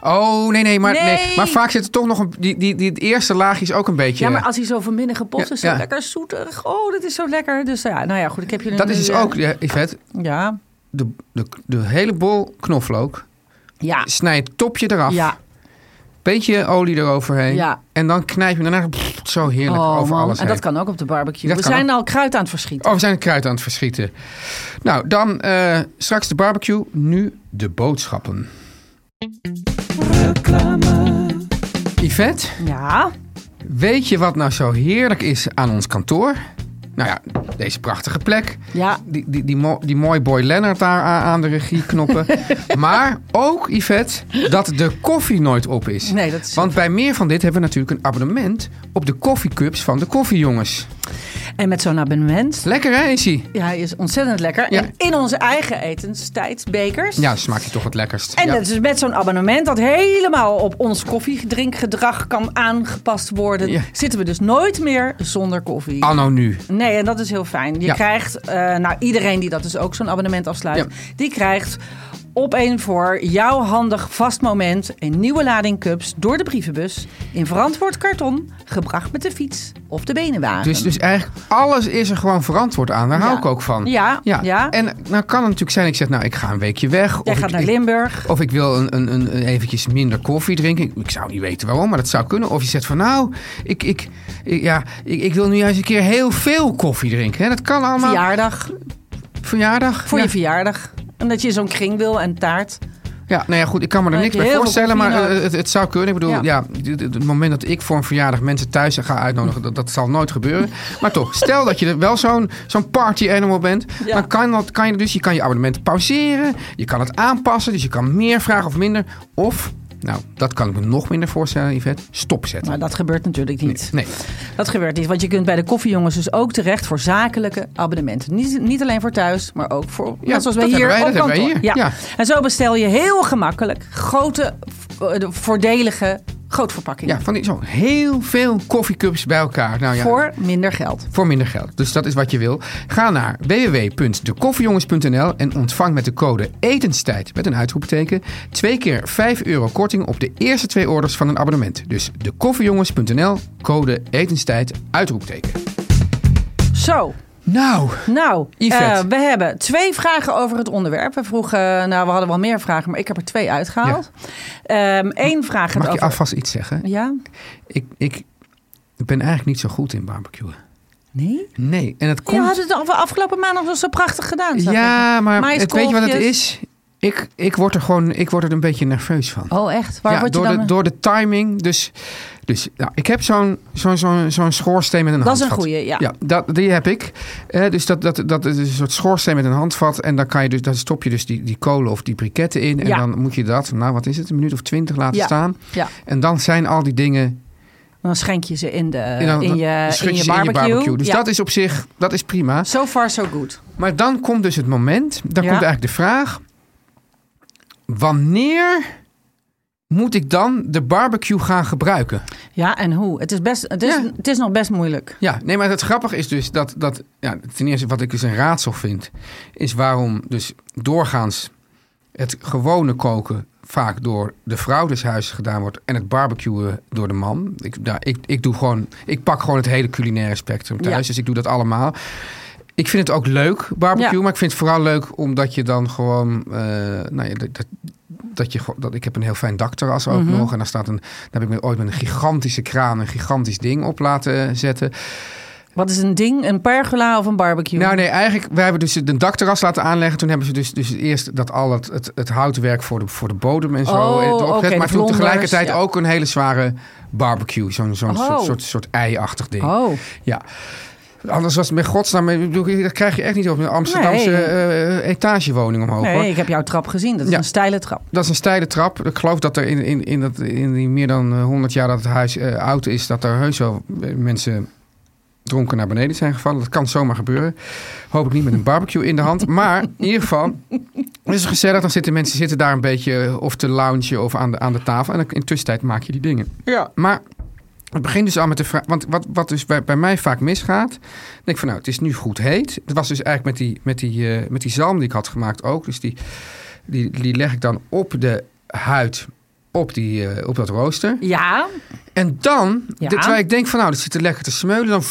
Oh, nee, nee maar, nee.
Nee.
maar vaak zit er toch nog een... Die, die, die, het eerste laagje is ook een beetje...
Ja, maar als hij zo van binnen gepoft
Ja,
is, zo
ja.
lekker zoeterig. Oh, dat is zo lekker. Dus ja, nou ja, goed, ik heb jullie
dat
nu
is dus
weer-
ook, ja, Yvette,
Ja,
de, de, de hele bol knoflook.
ja,
Snij het topje eraf.
ja.
Beetje olie eroverheen.
Ja.
En dan knijp je hem daarna pff, zo heerlijk
Oh,
over
man.
alles
En dat
heen.
kan ook op de barbecue.
Dat
we
kan
zijn al kruid aan het verschieten.
Oh, we zijn het kruid aan het verschieten. Nou, dan eh, straks de barbecue. Nu de boodschappen. Yvette,
Ja,
weet je wat nou zo heerlijk is aan ons kantoor? Nou ja, deze prachtige plek.
ja.
Die, die, die, mo- die mooi boy Lennart daar a- aan de
(laughs)
regieknoppen. maar ook, Yvette, dat de koffie nooit op is.
Nee, dat is...
Want bij meer van dit hebben we natuurlijk een abonnement op de koffiecups van de koffiejongens.
En met zo'n abonnement...
Lekker hè, Izzy?
Ja, hij is ontzettend lekker.
Ja.
En in onze eigen etenstijdsbekers.
Ja, smaakt je toch het lekkerst.
En
ja.
dat is dus met zo'n abonnement dat helemaal op ons koffiedrinkgedrag kan aangepast worden.
Ja.
Zitten we dus nooit meer zonder koffie.
Anno nu.
Nee, en dat is heel fijn. Je
Ja.
krijgt, eh, nou iedereen die dat dus ook zo'n abonnement afsluit,
Ja.
die krijgt op één voor jouw handig vast moment een nieuwe lading cups door de brievenbus in verantwoord karton, gebracht met de fiets of de benenwagen.
Dus, dus eigenlijk alles is er gewoon verantwoord aan. Daar hou
Ja.
ik ook van.
Ja, ja.
En nou kan het natuurlijk zijn, ik zeg nou ik ga een weekje weg.
Jij
of
gaat
ik,
naar
ik-
Limburg.
Of ik wil een, een, een, een eventjes minder koffie drinken. Ik, ik zou niet weten waarom, maar dat zou kunnen. Of je zegt van nou, ik, ik, ik- ja, ik, ik wil nu juist een keer heel veel koffie drinken. Hè. Dat kan allemaal.
Verjaardag.
Verjaardag.
Voor
ja.
je verjaardag. En dat je zo'n kring wil en taart.
Ja, nou ja, goed, ik kan me er
Dan
niks
heb je
bij
heel
voorstellen,
veel
maar
koffie
eh, het, het zou kunnen. Ik bedoel, ja,
Ja.
d- d- het moment dat ik voor een verjaardag mensen thuis ga uitnodigen, dat, dat zal nooit gebeuren. Maar toch, stel dat je er wel zo'n zo'n party animal bent,
Ja.
dan kan, dat, kan je dus, je kan je abonnement pauzeren, je kan het aanpassen, dus je kan meer vragen of minder. Of, nou, dat kan ik me nog minder voorstellen, Yvette, stopzetten.
Maar dat gebeurt natuurlijk niet.
Nee,
Dat gebeurt niet, want je kunt bij de koffiejongens dus ook terecht voor zakelijke abonnementen. Niet, niet alleen voor thuis, maar ook voor,
Ja,
net zoals wij
dat
hier
hebben wij,
op
dat hebben wij
kantoor. Ja.
hier. Ja.
En zo bestel je heel gemakkelijk grote, v- eh, de voordelige grootverpakkingen.
ja, van die, zo heel veel koffiecups bij elkaar. Nou, ja,
Voor minder geld.
voor minder geld. Dus dat is wat je wil. Ga naar www.dekoffiejongens.nl en ontvang met de code etenstijd met een uitroepteken twee keer 5 euro korting op de eerste twee orders van een abonnement. Dus dekoffiejongens.nl, code etenstijd, uitroepteken.
Zo,
Nou,
Nou,
Yvette.
eh, we hebben twee vragen over het onderwerp. We vroegen, nou, we hadden wel meer vragen, maar ik heb er twee uitgehaald. Eén vraag gaat
mag je
over.
alvast iets zeggen?
Ja?
Ik, ik ben eigenlijk niet zo goed in barbecuen.
Nee?
Nee, en het
Je had
komt...
het al afgelopen maandag wel zo prachtig gedaan. zag ik.
Ja, maar het, weet je wat het
Maiskolfjes.
is? Ik, ik word er gewoon ik word er een beetje nerveus van.
Oh, echt? Waar
ja,
word je
door,
dan...
de, door de timing. Dus, dus nou, ik heb zo'n zo'n zo'n zo'n schoorsteen met een
dat is een
handvat.
goeie, ja.
Ja, dat, die heb ik. Eh, dus dat, dat, dat is een soort schoorsteen met een handvat. En dan, kan je dus, dan stop je dus die, die kolen of die briketten in. En
Ja.
dan moet je dat, nou wat is het, een minuut of twintig laten
Ja.
staan.
Ja.
En dan zijn al die dingen
Dan schenk je ze in, de,
en dan-
Eh, in,
dan
je,
schud
in, je
ze
barbecue.
Dus
Ja.
dat is op zich, dat is prima.
So far, so good.
Maar dan komt dus het moment, dan
Ja.
komt eigenlijk de vraag... Wanneer moet ik dan de barbecue gaan gebruiken?
Ja, en hoe? Het is, best, het is,
Ja.
het is nog best moeilijk.
Ja, nee, maar het grappige is dus dat, dat ja, ten eerste wat ik dus een raadsel vind, is waarom dus doorgaans het gewone koken vaak door de vrouw des huizes gedaan wordt en het barbecuen door de man. Ik, daar, ik, ik, doe gewoon, ik pak gewoon het hele culinaire spectrum thuis,
Ja.
dus ik doe dat allemaal. Ik vind het ook leuk, barbecue,
Ja.
maar ik vind het vooral leuk omdat je dan gewoon, eh, nou ja, dat, dat, dat je, gewoon- dat, ik heb een heel fijn dakterras ook
Mhm.
nog en daar staat een, daar heb ik me ooit met een gigantische kraan een gigantisch ding op laten zetten.
Wat is een ding? Een pergola of een barbecue?
Nou nee, eigenlijk, we hebben dus een dakterras laten aanleggen. Toen hebben ze dus, dus eerst dat al het, het, het houtwerk voor de, voor de bodem en zo
Oh,
eh, erop gezet.
oké,
maar
de
toen
vlonders,
tegelijkertijd
ja.
ook een hele zware barbecue. Zo'n zo'n
Oh.
soort, soort, soort ei-achtig ding.
Oh,
Ja. Anders was het met godsnaam, ik bedoel, dat krijg je echt niet op een Amsterdamse
Nee.
eh, etagewoning omhoog. hoor.
nee, ik heb jouw trap gezien. Dat is
Ja.
een steile trap.
Dat is een steile trap. Ik geloof dat er in, in, in, dat, in die meer dan eh, 100 jaar dat het huis eh, oud is, dat er heus wel eh, mensen dronken naar beneden zijn gevallen. Dat kan zomaar gebeuren. Hoop ik niet met een barbecue in de hand. Maar in ieder geval, het is gezellig. Dan zitten mensen zitten daar een beetje eh, of te loungen of aan de, aan de tafel. En dan, in tussentijd maak je die dingen. Ja. Maar het begint dus al met de vraag... Want wat, wat dus bij, bij mij vaak misgaat... denk ik van nou, het is nu goed heet. Het was dus eigenlijk met die, met die, eh, met die zalm die ik had gemaakt ook. Dus die, die, die leg ik dan op de huid... Op, die, eh, op dat rooster.
Ja,
En dan,
Ja.
dit- terwijl ik denk van nou, dat zit er lekker te smeulen, dan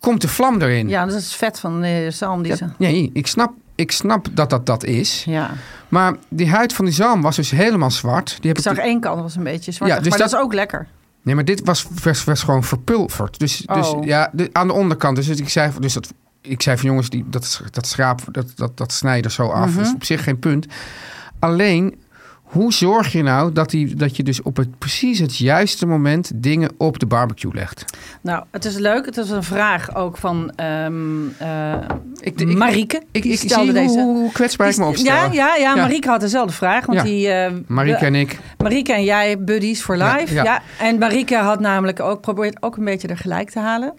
komt de vlam erin.
ja dat is vet van de zalm die ze...
Ja, nee, ik snap, ik snap dat dat dat is.
Ja,
Maar die huid van die zalm was dus helemaal zwart. Die heb
ik zag
ik
één kant was een beetje zwart,
Ja, dus
maar dat...
dat-
is ook lekker.
Nee, maar dit was, was, was gewoon verpulverd. Dus, dus
Oh.
ja, de- aan de onderkant. Dus ik zei, van- dus dat, ik zei van jongens, die, dat, dat schraap, dat, dat, dat snijden zo af.
Mhm.
Dat is op zich geen punt. Alleen, hoe zorg je nou dat, die, dat je dus op het, precies het juiste moment dingen op de barbecue legt?
Nou, het is leuk. Het is een vraag ook van ehm eh,
Ik, ik-
Marieke.
Ik,
Die
ik
stelde
zie
deze.
hoe, hoe kwetsbaar ik me
Die- ja,
opstel.
ja, ja,
Ja.
Marieke had dezelfde vraag. Want
Ja.
die, eh,
Marieke
de-
en ik. Oh,
Marieke en jij, buddies for
Ja,
life. Ja,
ja.
En Marieke had namelijk ook probeert ook een beetje er gelijk te halen.
Oh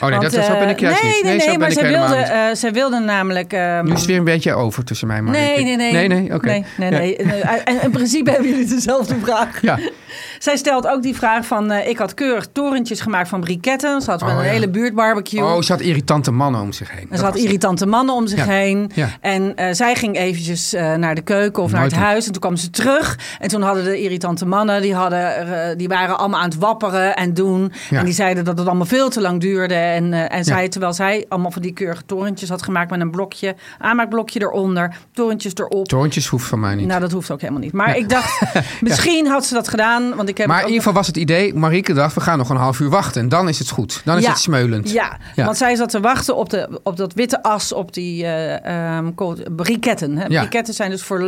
nee,
Want,
dat, zo ben ik
eh,
juist
nee,
niet.
Nee, nee,
zo ben
maar
ik
zij
helemaal
wilde,
niet.
eh, zij wilde namelijk... ehm,
nu is het weer een beetje over tussen mij en Marieke.
Nee, nee, nee.
Nee, nee, oké.
nee,
Ja.
nee, nee. eh, En in principe hebben jullie dezelfde vraag.
Ja.
Zij stelt ook die vraag van... eh, ik had keurig torentjes gemaakt van briketten. Ze had met
Oh,
een
ja.
hele buurt barbecue.
Oh, ze had irritante mannen om zich heen.
en ze had irritante mannen om zich
Ja.
heen.
Ja.
En eh, zij ging eventjes eh, naar de keuken of naar
Nooit
het
meer.
huis. En toen kwam ze terug. En toen hadden de irritante mannen... die, hadden, er, eh, die waren allemaal aan het wapperen en doen.
Ja.
En die zeiden dat het allemaal veel te lang duurde. En, eh, en zij,
Ja.
terwijl zij allemaal van die keurige torentjes had gemaakt... met een blokje, aanmaakblokje eronder. Torentjes erop.
Toontjes hoeft van mij niet.
Nou, dat hoeft ook helemaal niet. Maar ik
(laughs)
dacht, misschien had ze dat gedaan. Want ik heb
maar in
ook
ieder geval was het idee, Marieke dacht, we gaan nog een half uur wachten. En dan is het goed. Dan is
Ja.
het smeulend.
Ja,
Ja.
want zij zat te wachten op, de, op dat witte as op die eh, ehm, ko- briketten. Hè.
Ja.
Briketten zijn dus voor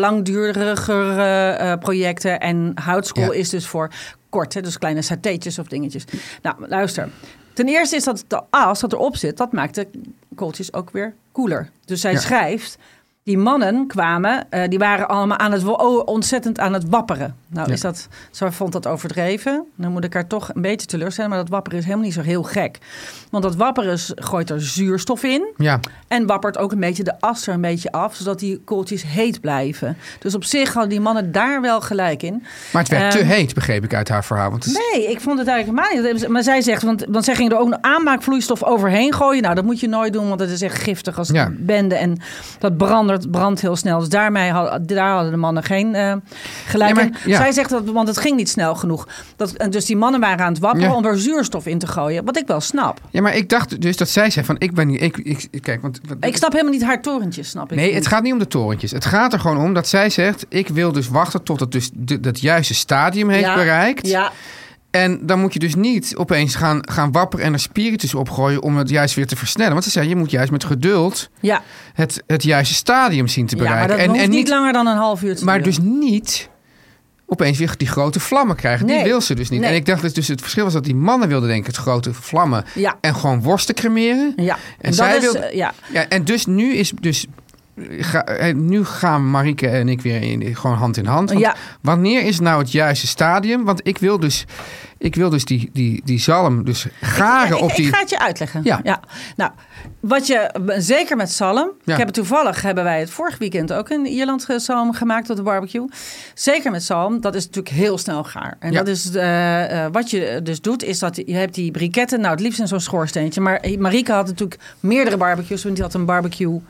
langduriger eh, eh, projecten. En houtskool
Ja.
is dus voor kort, hè, dus kleine satéetjes of dingetjes. Nou, luister. Ten eerste is dat de as dat erop zit, dat maakt de kooltjes ook weer koeler. Dus zij
Ja.
schrijft... Die mannen kwamen, eh, die waren allemaal aan het, wa- oh, ontzettend aan het wapperen. Nou,
Ja.
is dat, ze vond dat overdreven. Dan moet ik haar toch een beetje teleurstellen. Maar dat wapperen is helemaal niet zo heel gek. Want dat wapperen is- gooit er zuurstof in.
Ja.
En wappert ook een beetje de as er een beetje af. Zodat die kooltjes heet blijven. Dus op zich hadden die mannen daar wel gelijk in.
Maar het werd
Ehm,
te heet, begreep ik uit haar verhaal. Want het is-
Nee, ik vond het eigenlijk helemaal niet. Maar zij zegt, want, want zij ging er ook een aanmaakvloeistof overheen gooien. Nou, dat moet je nooit doen, want dat is echt giftig als
Ja.
bende. En dat brandt dat brandt heel snel. Dus daarmee had- daar hadden de mannen geen eh, gelijk.
Nee,
in.
maar- ja.
Zij zegt dat, want het ging niet snel genoeg. Dat, en dus die mannen waren aan het wapperen
Ja.
om er zuurstof in te gooien. Wat ik wel snap.
Ja, maar ik dacht dus dat zij zei van ik ben niet. Ik, ik, kijk, want. wat-
Ik snap helemaal niet haar torentjes, snap ik.
Nee,
niet.
het gaat niet om de torentjes. Het gaat er gewoon om dat zij zegt: ik wil dus wachten tot het dus de- dat juiste stadium heeft
Ja,
bereikt.
Ja,
En dan moet je dus niet opeens gaan, gaan wapperen en er spiritus opgooien om het juist weer te versnellen. Want ze zei: je moet juist met geduld
ja.
het, het juiste stadium zien te
ja maar
bereiken.
dat
en,
hoeft
en
niet langer dan een half uur te
maar
duren.
dus niet opeens weer die grote vlammen krijgen.
Nee.
Die wil ze dus niet.
Nee.
En ik dacht dat dus het verschil was dat die mannen wilden denk ik het grote vlammen
Ja.
en gewoon worsten cremeren.
Ja,
dus- En zij
is,
wilde-
eh, ja.
Ja, en dus nu is dus. ga- eh, nu gaan Marieke en ik weer in, gewoon hand in hand. Want
Ja.
Wanneer is nou het juiste stadium? Want ik wil dus, ik wil dus die, die, die zalm dus garen
Ja, ik,
op die.
ik ga het je uitleggen.
Ja.
Nou, wat je, zeker met zalm.
Ja.
Ik heb het toevallig, hebben wij het vorig weekend ook in Ierland ge- zalm gemaakt op de barbecue. Zeker met zalm, dat is natuurlijk heel snel gaar. En
Ja.
dat is, eh, eh, wat je dus doet, is dat je hebt die briketten, nou het liefst in zo'n schoorsteentje. Maar eh, Marike had natuurlijk meerdere barbecues, want die had een barbecue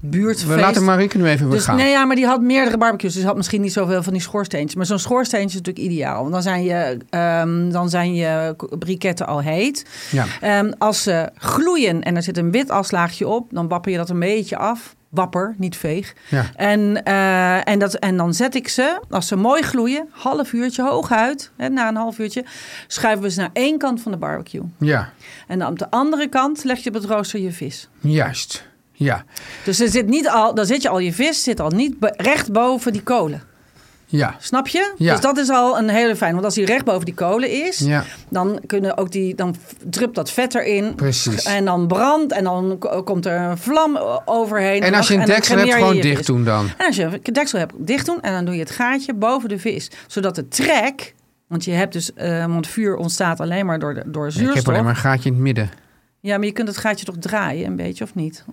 buurtfeest.
We laten Marieke nu even weer
Dus,
gaan.
nee, ja, maar die had meerdere barbecues. Dus had misschien niet zoveel van die schoorsteentjes. Maar zo'n schoorsteentje is natuurlijk ideaal. Want dan zijn je, ehm, dan zijn je k- briketten al heet.
Ja.
Ehm, als ze gloeien en er zit een wit afslaagje op... dan wapper je dat een beetje af. Wapper, niet veeg.
Ja.
En, eh, en, dat, en dan zet ik ze, als ze mooi gloeien... half uurtje hooguit, hè, na een half uurtje... schuiven we ze naar één kant van de barbecue.
Ja,
En dan op de andere kant leg je op het rooster je vis.
juist. Ja,
Dus er zit niet al, dan zit je al je vis zit al niet be- recht boven die kolen.
ja.
Snap je?
Ja.
Dus dat is al een hele fijn. Want als die recht boven die kolen is,
Ja.
dan, kunnen ook die, dan drupt dat vet erin.
Precies.
En dan brandt en dan ko- komt er een vlam o- overheen.
En als je
dan-
een
dan
deksel hebt,
cremeer je
gewoon
je
dicht
vis.
doen dan.
En als je een deksel hebt, dicht doen en dan doe je het gaatje boven de vis. Zodat de trek, want je hebt dus, eh, want vuur ontstaat alleen maar door, de, door
Ik
zuurstof.
heb alleen maar een gaatje in het midden.
Ja, maar je kunt het gaatje toch draaien een beetje of niet?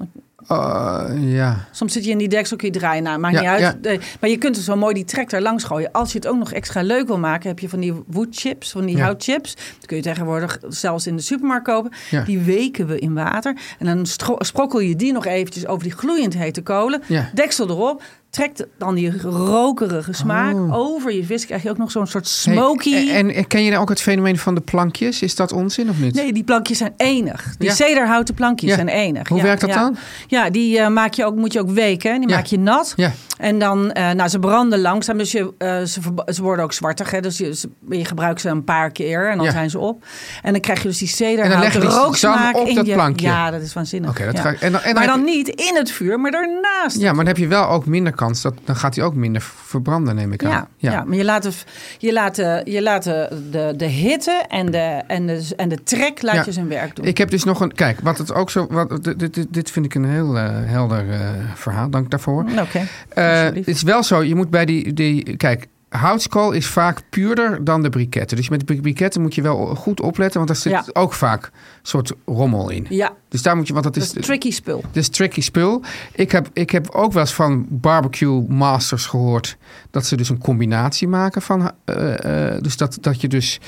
Oh, ja.
Soms zit je in die deksel, kun je draaien. Nou, maakt
Ja,
niet uit.
ja.
Nee, maar je kunt er zo mooi die trek er langs gooien. Als je het ook nog extra leuk wil maken, heb je van die woodchips, van die
Ja.
houtchips. Dat kun je tegenwoordig zelfs in de supermarkt kopen.
Ja.
Die weken we in water. En dan stro- sprokkel je die nog eventjes over die gloeiend hete kolen.
Ja.
Deksel erop. Trekt dan die rokerige smaak over je vis. Krijg je ook nog zo'n soort smoky...
Oh. Hey, en, en ken je dan ook het fenomeen van de plankjes? Is dat onzin of niet?
Nee, die plankjes zijn enig. Die
Ja.
zederhouten plankjes
Ja.
zijn enig.
Hoe
Ja,
werkt dat
ja.
dan?
Ja, die eh, maak je ook, moet je ook weken. Die
Ja.
maak je nat.
Ja.
En dan, eh, nou, ze branden langzaam. Dus je, eh, ze, verba- ze worden ook zwartig. Hè? Dus je, ze- je gebruikt ze een paar keer en dan
Ja.
zijn ze op. En dan krijg je dus die
leg je
zederhouten
die
rooksmaak
zalm op
in
dat
je...
plankje.
Ja, dat is waanzinnig.
Oké, dat
Ja.
ga ik- en dan- en dan
maar
heb
dan
je-
niet in het vuur, maar daarnaast.
Ja, maar dan heb je wel ook minder kans. Dat, dan gaat hij ook minder verbranden, neem ik aan.
Ja, ja. maar je laat, de, je laat, de, je laat de, de, de hitte en de, en, de, en de trek laat
Ja.
je zijn werk doen.
Ik heb dus nog een. Kijk, wat het ook zo. Wat, dit, dit- dit, dit vind ik een heel eh, helder eh, verhaal. Dank daarvoor.
Mm, Oké,
Eh,
alsjeblieft.
het is wel zo, je moet bij die. die kijk, houtskool is vaak puurder dan de briketten. Dus met de bri- briketten moet je wel goed opletten, want daar zit
Ja.
ook vaak een soort rommel in.
Ja,
Dus daar moet je. Want dat
dat
is.
is tricky spul.
Dus tricky spul. Ik heb, ik heb ook wel eens van barbecue masters gehoord dat ze dus een combinatie maken van. eh, eh, dus dat, dat je dus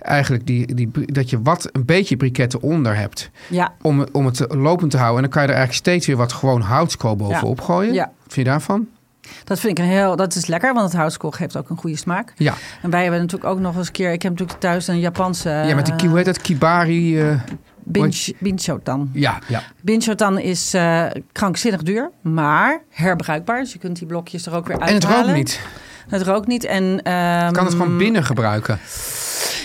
eigenlijk die, die, dat je wat een beetje briketten onder hebt
Ja,
om, om het te- lopend te houden. En dan kan je er eigenlijk steeds weer wat gewoon houtskool bovenop gooien.
Ja.
Wat vind je daarvan?
dat vind ik een heel... Dat is lekker, want het houtskool geeft ook een goede smaak.
Ja.
En wij hebben natuurlijk ook nog eens een keer... Ik heb natuurlijk thuis een Japanse... eh,
ja, met die, ki- hoe heet dat? Kibari. eh,
Binch- Binchotan.
ja, ja.
Binchotan is eh, krankzinnig duur, maar herbruikbaar. Dus je kunt die blokjes er ook weer
En het
uithalen. Ehm,
rookt niet.
Het rookt niet. En,
Je kan het gewoon binnen gebruiken.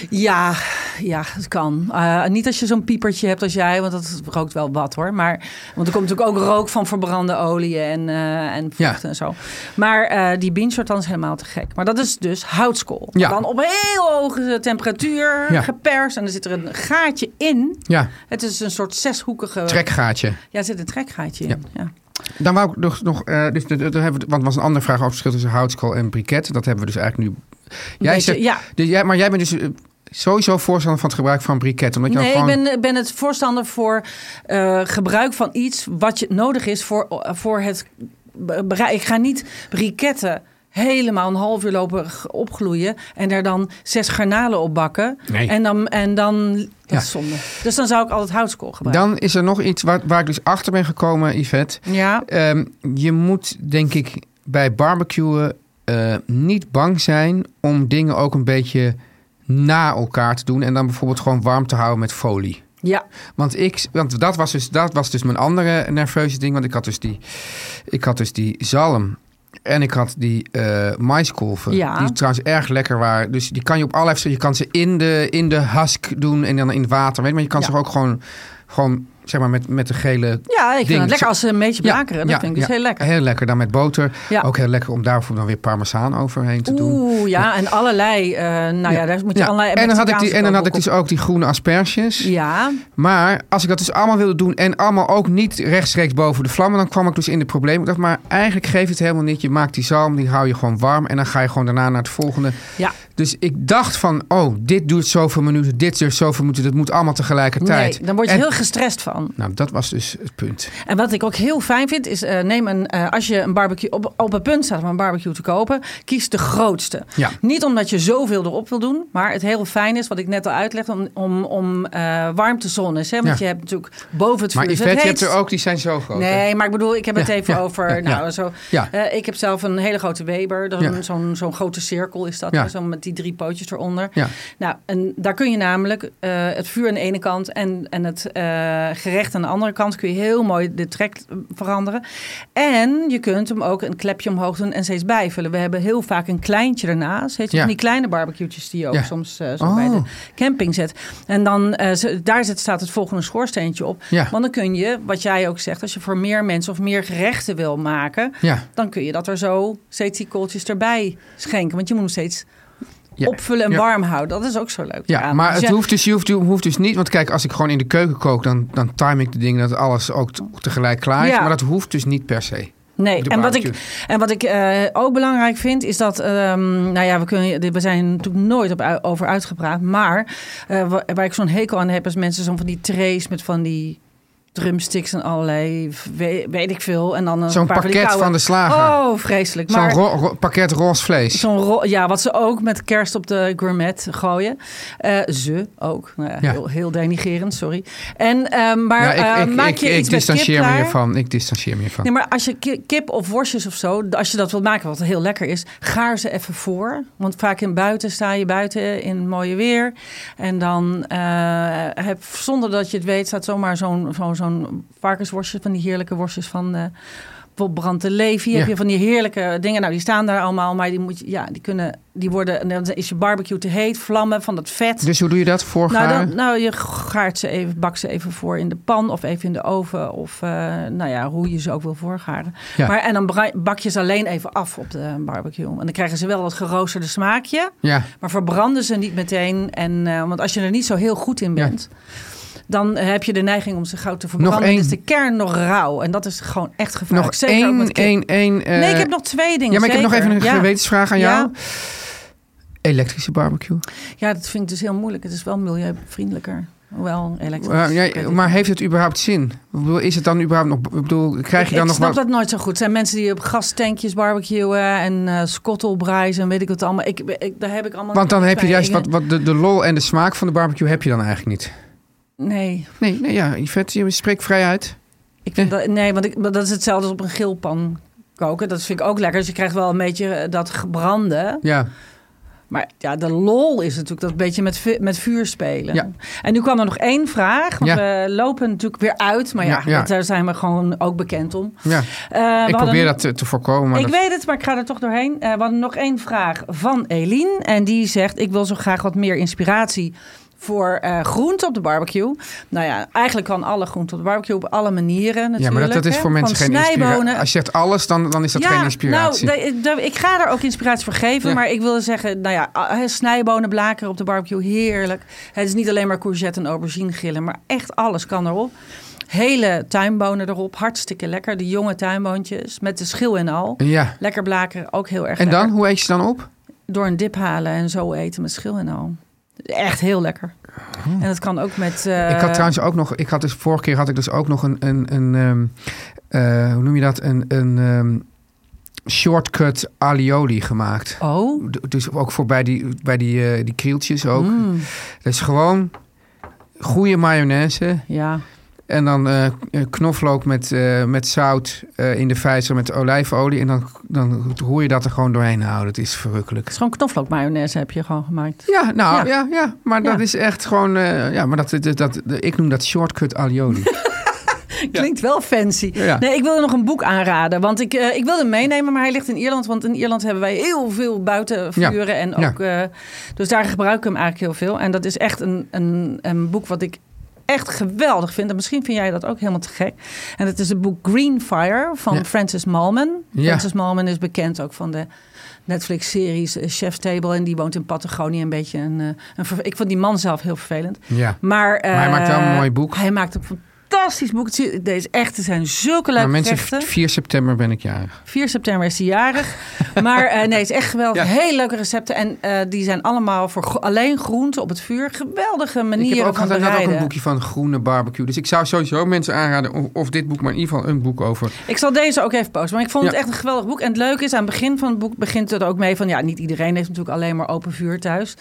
Ja, ja, het kan. Eh, niet als je zo'n piepertje hebt als jij, want dat rookt wel wat hoor. Maar, want er komt natuurlijk ook rook van verbrande oliën en, eh en
Ja.
vocht en zo. Maar eh, die binsortan is helemaal te gek. Maar dat is dus houtskool.
Ja.
Dan op heel hoge temperatuur,
Ja.
geperst. En dan zit er een gaatje in.
Ja,
Het is een soort zeshoekige...
trekgaatje.
Ja, er zit een trekgaatje in. Ja.
Dan wou ik nog, nog eh, dus, de- de- de- hebben we- want er was een andere vraag over het verschil tussen houtskool en briket. Dat hebben we dus eigenlijk nu. Jij
Beetje-
zegt,
ja.
dus jij, maar jij bent dus eh, sowieso voorstander van het gebruik van briket. Omdat je
Nee,
dan gewoon,
ik ben, eh, ben het voorstander voor eh, gebruik van eh, iets wat je nodig is voor, voor het bereik. Ik ga niet briketten helemaal een half uur lopen g- opgloeien. En daar dan zes garnalen op bakken.
Nee.
En dan, en dan dat
Ja.
is zonde. Dus dan zou ik altijd houtskool gebruiken.
Dan is er nog iets waar, waar ik dus achter ben gekomen, Yvette.
ja.
Ehm, je moet, denk ik, bij barbecuen eh, niet bang zijn om dingen ook een beetje na elkaar te doen. En dan bijvoorbeeld gewoon warm te houden met folie.
ja.
Want, ik, want dat, was dus, dat was dus mijn andere nerveuze ding. Want ik had dus die, ik had dus die zalm. En ik had die eh maiskolven.
Ja.
Die trouwens erg lekker waren. Dus die kan je op allerlei verschillen. Je kan ze in de, in de husk doen en dan in het water. Weet je, maar je kan
Ja.
ze ook gewoon, gewoon zeg maar met, met de gele
Ja, ik vind
Ding.
het lekker als ze een beetje blakeren. dat vind ik dus
ja. Eh,
heel lekker.
Heel lekker. Dan met boter.
Ja.
Ook heel lekker om daar bijvoorbeeld dan weer parmezaan overheen te doen.
Oeh, ja, en allerlei. eh, nou ja, daar moet je
Ja.
allerlei.
en dan had ik, die,
Mexicaanse
en dan had ik
kookboeken
dus ook die groene
op.
asperges.
Ja,
Maar als ik dat dus allemaal wilde doen en allemaal ook niet rechtstreeks boven de vlammen, dan kwam ik dus in de problemen. Ik dacht, maar eigenlijk geeft het helemaal niet. Je maakt die zalm, die hou je gewoon warm en dan ga je gewoon daarna naar het volgende.
ja.
Dus ik dacht van, oh, dit duurt zoveel minuten, dit duurt zoveel minuten, dat moet allemaal tegelijkertijd.
Nee, dan word je
En-
heel gestrest van.
Nou, dat was dus het punt.
En wat ik ook heel fijn vind, is eh, neem een, eh, als je een barbecue op, op het punt staat om een barbecue te kopen, kies de grootste.
Ja.
Niet omdat je zoveel erop wil doen, maar het heel fijn is, wat ik net al uitlegde, om, om, om eh, warmtezones. Hè? Want je
Ja.
hebt natuurlijk boven het vuur.
Maar
is
Yvette,
het
je hebt er
heetst.
ook, die zijn zo groot. hè?
Nee, maar ik bedoel, ik heb het
Ja,
even
ja,
over.
ja, ja.
nou, Zo,
Ja.
eh, ik heb zelf een hele grote Weber. Dat is
Ah. Ja.
een- Zo'n zo'n grote cirkel is dat.
Ja.
hè, Zo met die drie pootjes eronder.
Ja.
Nou, en daar kun je namelijk eh, het vuur aan de ene kant en, en het eh, gerecht aan de andere kant kun je heel mooi de trek eh, veranderen. En je kunt hem ook een klepje omhoog doen en steeds bijvullen. We hebben heel vaak een kleintje ernaast. Heet je
Ja.
van die kleine barbecuetjes die je ook
Ja.
soms eh, zo
Oh.
bij de camping zet. En dan eh, ze- daar zit, staat het volgende schoorsteentje op.
Ja.
Want dan kun je, wat jij ook zegt, als je voor meer mensen of meer gerechten wil maken,
Ja.
dan kun je dat er zo steeds die kooltjes erbij schenken. Want je moet hem steeds
Ja.
opvullen en
Ja.
warm houden. Dat is ook zo leuk.
Ja,
eraan.
maar
Dus
het
ja,
hoeft dus, je hoeft, je hoeft dus niet. Want kijk, als ik gewoon in de keuken kook, dan, dan time ik de dingen dat alles ook t- tegelijk klaar is.
Ja.
Maar dat hoeft dus niet per se.
Nee,
de
en wat ik,
barbecue.
en wat ik eh, ook belangrijk vind, is dat, ehm, nou ja, we, kunnen, we zijn er natuurlijk nooit op, u- over uitgepraat, maar eh, wa- waar ik zo'n hekel aan heb, is mensen zo'n van die trays met van die drumsticks en allerlei, we- weet ik veel. En dan een
Zo'n
paar die
pakket
koude-
van de slager.
Oh, vreselijk.
Zo'n
Maar,
ro- ro- pakket roze vlees.
Zo'n ro- ja, wat ze ook met kerst op de gourmet gooien. Eh, ze ook. Nou ja,
Ja.
Heel, heel denigerend, sorry. En, eh, maar
ja, ik,
eh,
ik,
maak
ik,
je
ik
iets met kip
distancieer me
klaar?
hiervan. Ik distancieer me hiervan.
Nee, maar als je ki- kip of worstjes of zo, als je dat wilt maken, wat heel lekker is, gaar ze even voor. Want vaak in buiten sta je buiten in mooie weer. En dan eh, heb, zonder dat je het weet, staat zomaar zo'n zo, zo'n varkensworstje, van die heerlijke worstjes van. eh Bob Brandt de Levi, heb
Ja.
je van die heerlijke dingen. Nou, die staan daar allemaal, maar die, moet je, ja, die kunnen, die worden, en dan is je barbecue te heet, vlammen van dat vet.
dus hoe doe je dat? Voorgaan?
Nou, dan, nou, je gaart ze even, bak ze even voor in de pan of even in de oven. Of eh, nou ja, hoe je ze ook wil voorgaren.
Ja.
Maar, en dan bra- bak je ze alleen even af op de barbecue. En dan krijgen ze wel dat geroosterde smaakje.
ja.
Maar verbranden ze niet meteen. En, eh, want als je er niet zo heel goed in
Ja.
bent... dan heb je de neiging om ze gauw te verbranden. Dan
één.
is de kern nog rauw. En dat is gewoon echt gevaarlijk.
Nog
Zeker ook
één,
met kip.
één, één. eh,
nee, ik heb nog twee dingen.
Ja, maar ik heb nog
zeker.
even een
Ja.
gewetensvraag aan
Ja.
jou. Eh, Elektrische barbecue.
Ja, dat vind ik dus heel moeilijk. Het is wel milieuvriendelijker. Hoewel elektrisch.
Eh, ja,
ik weet het
maar heeft het überhaupt zin? Ik bedoel, Is het dan überhaupt nog? Ik bedoel, krijg je
ik
dan nog
snap
wat?
dat nooit zo goed. Er zijn mensen die op gastankjes barbecuen en eh skottelbraisen en weet ik wat allemaal. Ik, ik, daar heb ik allemaal
Want dan
niks
heb je
mee.
juist
Ik-
wat, wat de, de lol en de smaak van de barbecue heb je dan eigenlijk niet.
Nee,
Nee, nee ja, Yvette, je spreekt vrij uit.
ik vind
Eh.
dat, nee want ik, maar dat is hetzelfde als op een grillpan koken. Dat vind ik ook lekker. Dus je krijgt wel een beetje eh, dat gebrande.
Ja,
Maar ja, de lol is natuurlijk dat beetje met, vu- met vuur spelen.
Ja.
En nu kwam er nog één vraag. Want
Ja.
we lopen natuurlijk weer uit. Maar ja,
Ja, ja.
dat- daar zijn we gewoon ook bekend om.
ja.
Eh, we
ik
hadden-
probeer dat te, te voorkomen. Maar
ik
dat-
weet het, maar ik ga er toch doorheen. Eh, we hadden nog één vraag van Eline. En die zegt: Ik wil zo graag wat meer inspiratie voor eh groente op de barbecue. Nou ja, eigenlijk kan alle groente op de barbecue op alle manieren. Natuurlijk,
ja, maar dat, dat is
hè.
voor mensen
Van
geen inspiratie.
snijbonen.
Als je zegt alles, dan, dan is dat geen inspiratie.
nou, de- de- ik ga er ook inspiratie voor geven.
Ja.
Maar ik wil zeggen, nou ja, ah, hè, snijbonen blakeren op de barbecue, heerlijk. Het is niet alleen maar courgette en aubergine grillen, maar echt alles kan erop. Hele tuinbonen erop, hartstikke lekker. De jonge tuinboontjes, met de schil en al.
Ja.
Lekker blakeren, ook heel erg
En dan,
lekker.
hoe eet je ze dan op?
Door een dip halen en zo eten met schil en al. Echt heel lekker. En dat kan ook met... eh,
Oh. ik had trouwens ook nog, ik had dus vorige keer had ik dus ook nog een, een, een ehm, eh, hoe noem je dat? Een, een ehm, shortcut alioli gemaakt.
Oh,
D- Dus ook voor bij die, bij die, eh, die krieltjes ook.
Mm,
Dus gewoon goede mayonaise.
ja.
En dan eh, knoflook met, eh, met zout eh, in de vijzer met olijfolie. En dan, dan hoor je dat er gewoon doorheen houden. Het is verrukkelijk.
Het is gewoon knoflook mayonaise heb je gewoon gemaakt.
Ja, nou
Ja.
ja, ja, maar
Ja.
dat is echt gewoon. eh, ja, maar dat, dat, dat, ik noem dat shortcut
(laughs)
alioli.
Klinkt wel fancy.
Ja.
Nee, ik wilde nog een boek aanraden. Want ik, eh, ik wilde hem meenemen, maar hij ligt in Ierland. Want in Ierland hebben wij heel veel buitenvuren. En
Ja.
ook, eh, dus daar gebruik ik hem eigenlijk heel veel. En dat is echt een, een, een boek wat ik echt geweldig vind. En misschien vind jij dat ook helemaal te gek. En het is het boek Green Fire van
Ja.
Francis Malman.
Ja.
Francis Malman is bekend ook van de Netflix-series eh, Chef Table. En die woont in Patagonië. Een beetje een, eh, een ver- Ik vond die man zelf heel vervelend.
ja.
Maar, eh,
hij maakt wel een mooi boek.
Hij maakt een fantastisch boek. Het is- Deze echt, er zijn zulke leuke
Maar mensen,
gerechten.
4 september ben ik jarig.
4 september is hij jarig. maar eh, nee, het is echt geweldig.
(laughs) Ja.
Heel leuke recepten. En eh, die zijn allemaal voor gro- alleen groenten op het vuur. Geweldige manieren
ik heb ook,
van
had inderdaad ook
bereiden.
een boekje van groene barbecue. Dus ik zou sowieso mensen aanraden, of, of dit boek, maar in ieder geval een boek over.
Ik zal deze ook even posten. Maar ik vond
Ja.
het echt een geweldig boek. En het leuke is, aan het begin van het boek begint het ook mee van... ja, niet iedereen heeft natuurlijk alleen maar open vuur thuis.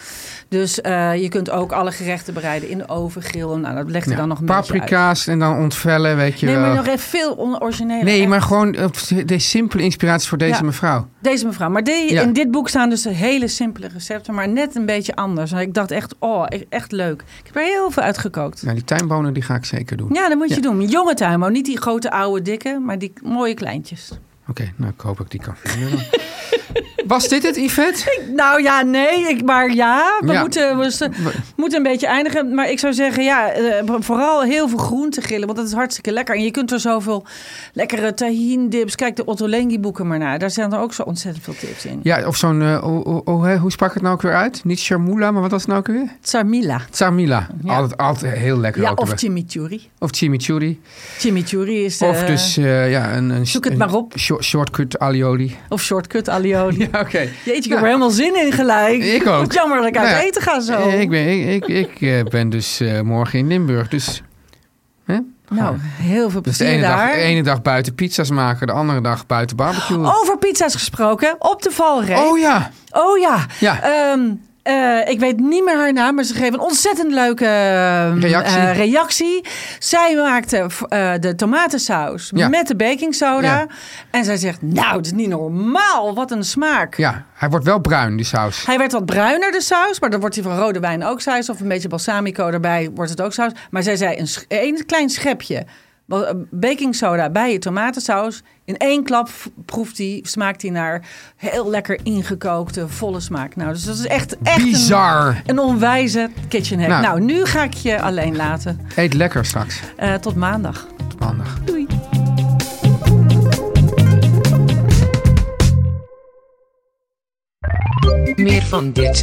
Dus eh, je kunt ook alle gerechten bereiden in de oven, grillen. Nou, dat legt er
Ja,
dan nog een beetje uit.
Paprika's en dan ontvellen, weet je
Nee, maar
wel.
nog even veel onorigineler.
nee,
Echt.
maar gewoon eh, de simpele inspiratie voor deze
Ja.
mevrouw.
Deze mevrouw. Maar die,
Ja.
in dit boek staan dus hele simpele recepten, maar net een beetje anders. En ik dacht echt, oh, e- echt leuk. Ik heb er heel veel uitgekookt. Ja,
Nou, die tuinbonen die ga ik zeker doen.
dat moet je
Ja.
doen. Jonge tuinbouw. Niet die grote, oude, dikke, maar die mooie kleintjes.
Oké, nou ik hoop dat ik die kan vinden. dan. (laughs) Was dit het, Yvette?
Nou ja, nee, ik, maar ja, we,
Ja.
Moeten, we s- moeten een beetje eindigen. Maar ik zou zeggen, ja, eh, vooral heel veel groente grillen, want dat is hartstikke lekker. En je kunt er zoveel lekkere tahin-dips. Kijk de Ottolenghi boeken maar naar. Daar zijn er ook zo ontzettend veel tips in.
Ja, of zo'n... eh, oh, oh, oh, hè, hoe sprak het nou ook weer uit? Niet Sharmula, maar wat was het nou ook weer?
Tsamila.
Tsamila.
Ja.
Altijd, altijd heel lekker.
Ja,
ook
of
weer.
chimichurri.
of chimichurri.
Chimichurri is...
Of
eh,
dus eh, ja, een, een,
zoek het
een
maar op.
short- shortcut alioli. (laughs)
Of shortcut alioli.
Ja, oké.
Jeetje, ik heb
Ja.
er helemaal zin in gelijk.
Ik ook.
Wat jammer dat ik
Nou
uit
ja,
eten ga zo.
Eh, Ik ben, ik, ik, ik eh, ben dus eh, morgen in Limburg. Dus, hè?
Nou, heel veel
dus de
plezier
ene dag,
daar.
de ene dag buiten pizza's maken, de andere dag buiten barbecue.
Over pizza's gesproken, op de valreep.
Oh ja,
Oh ja.
Ja.
Ehm, eh, ik weet niet meer haar naam, maar ze geeft een ontzettend leuke ehm,
Reactie.
eh, reactie. Zij maakte v- eh, de tomatensaus
Ja.
met de baking soda.
Ja.
En zij zegt, nou, het is niet normaal. Wat een smaak.
ja, hij wordt wel bruin, die saus.
Hij werd wat bruiner, de saus. Maar dan wordt hij van rode wijn ook saus. Of een beetje balsamico erbij wordt het ook saus. Maar zij zei een, sch- één klein schepje ba- eh, baking soda bij je tomatensaus. In één klap v- proeft hij, smaakt hij naar heel lekker ingekookte, volle smaak. Nou, dus dat is echt, echt een-
Bizar.
Een, onwijze kitchen hack. Nou.
Nou.
nu ga ik je alleen laten.
Eet lekker straks.
Eh, tot maandag.
Handig.
Meer van dit.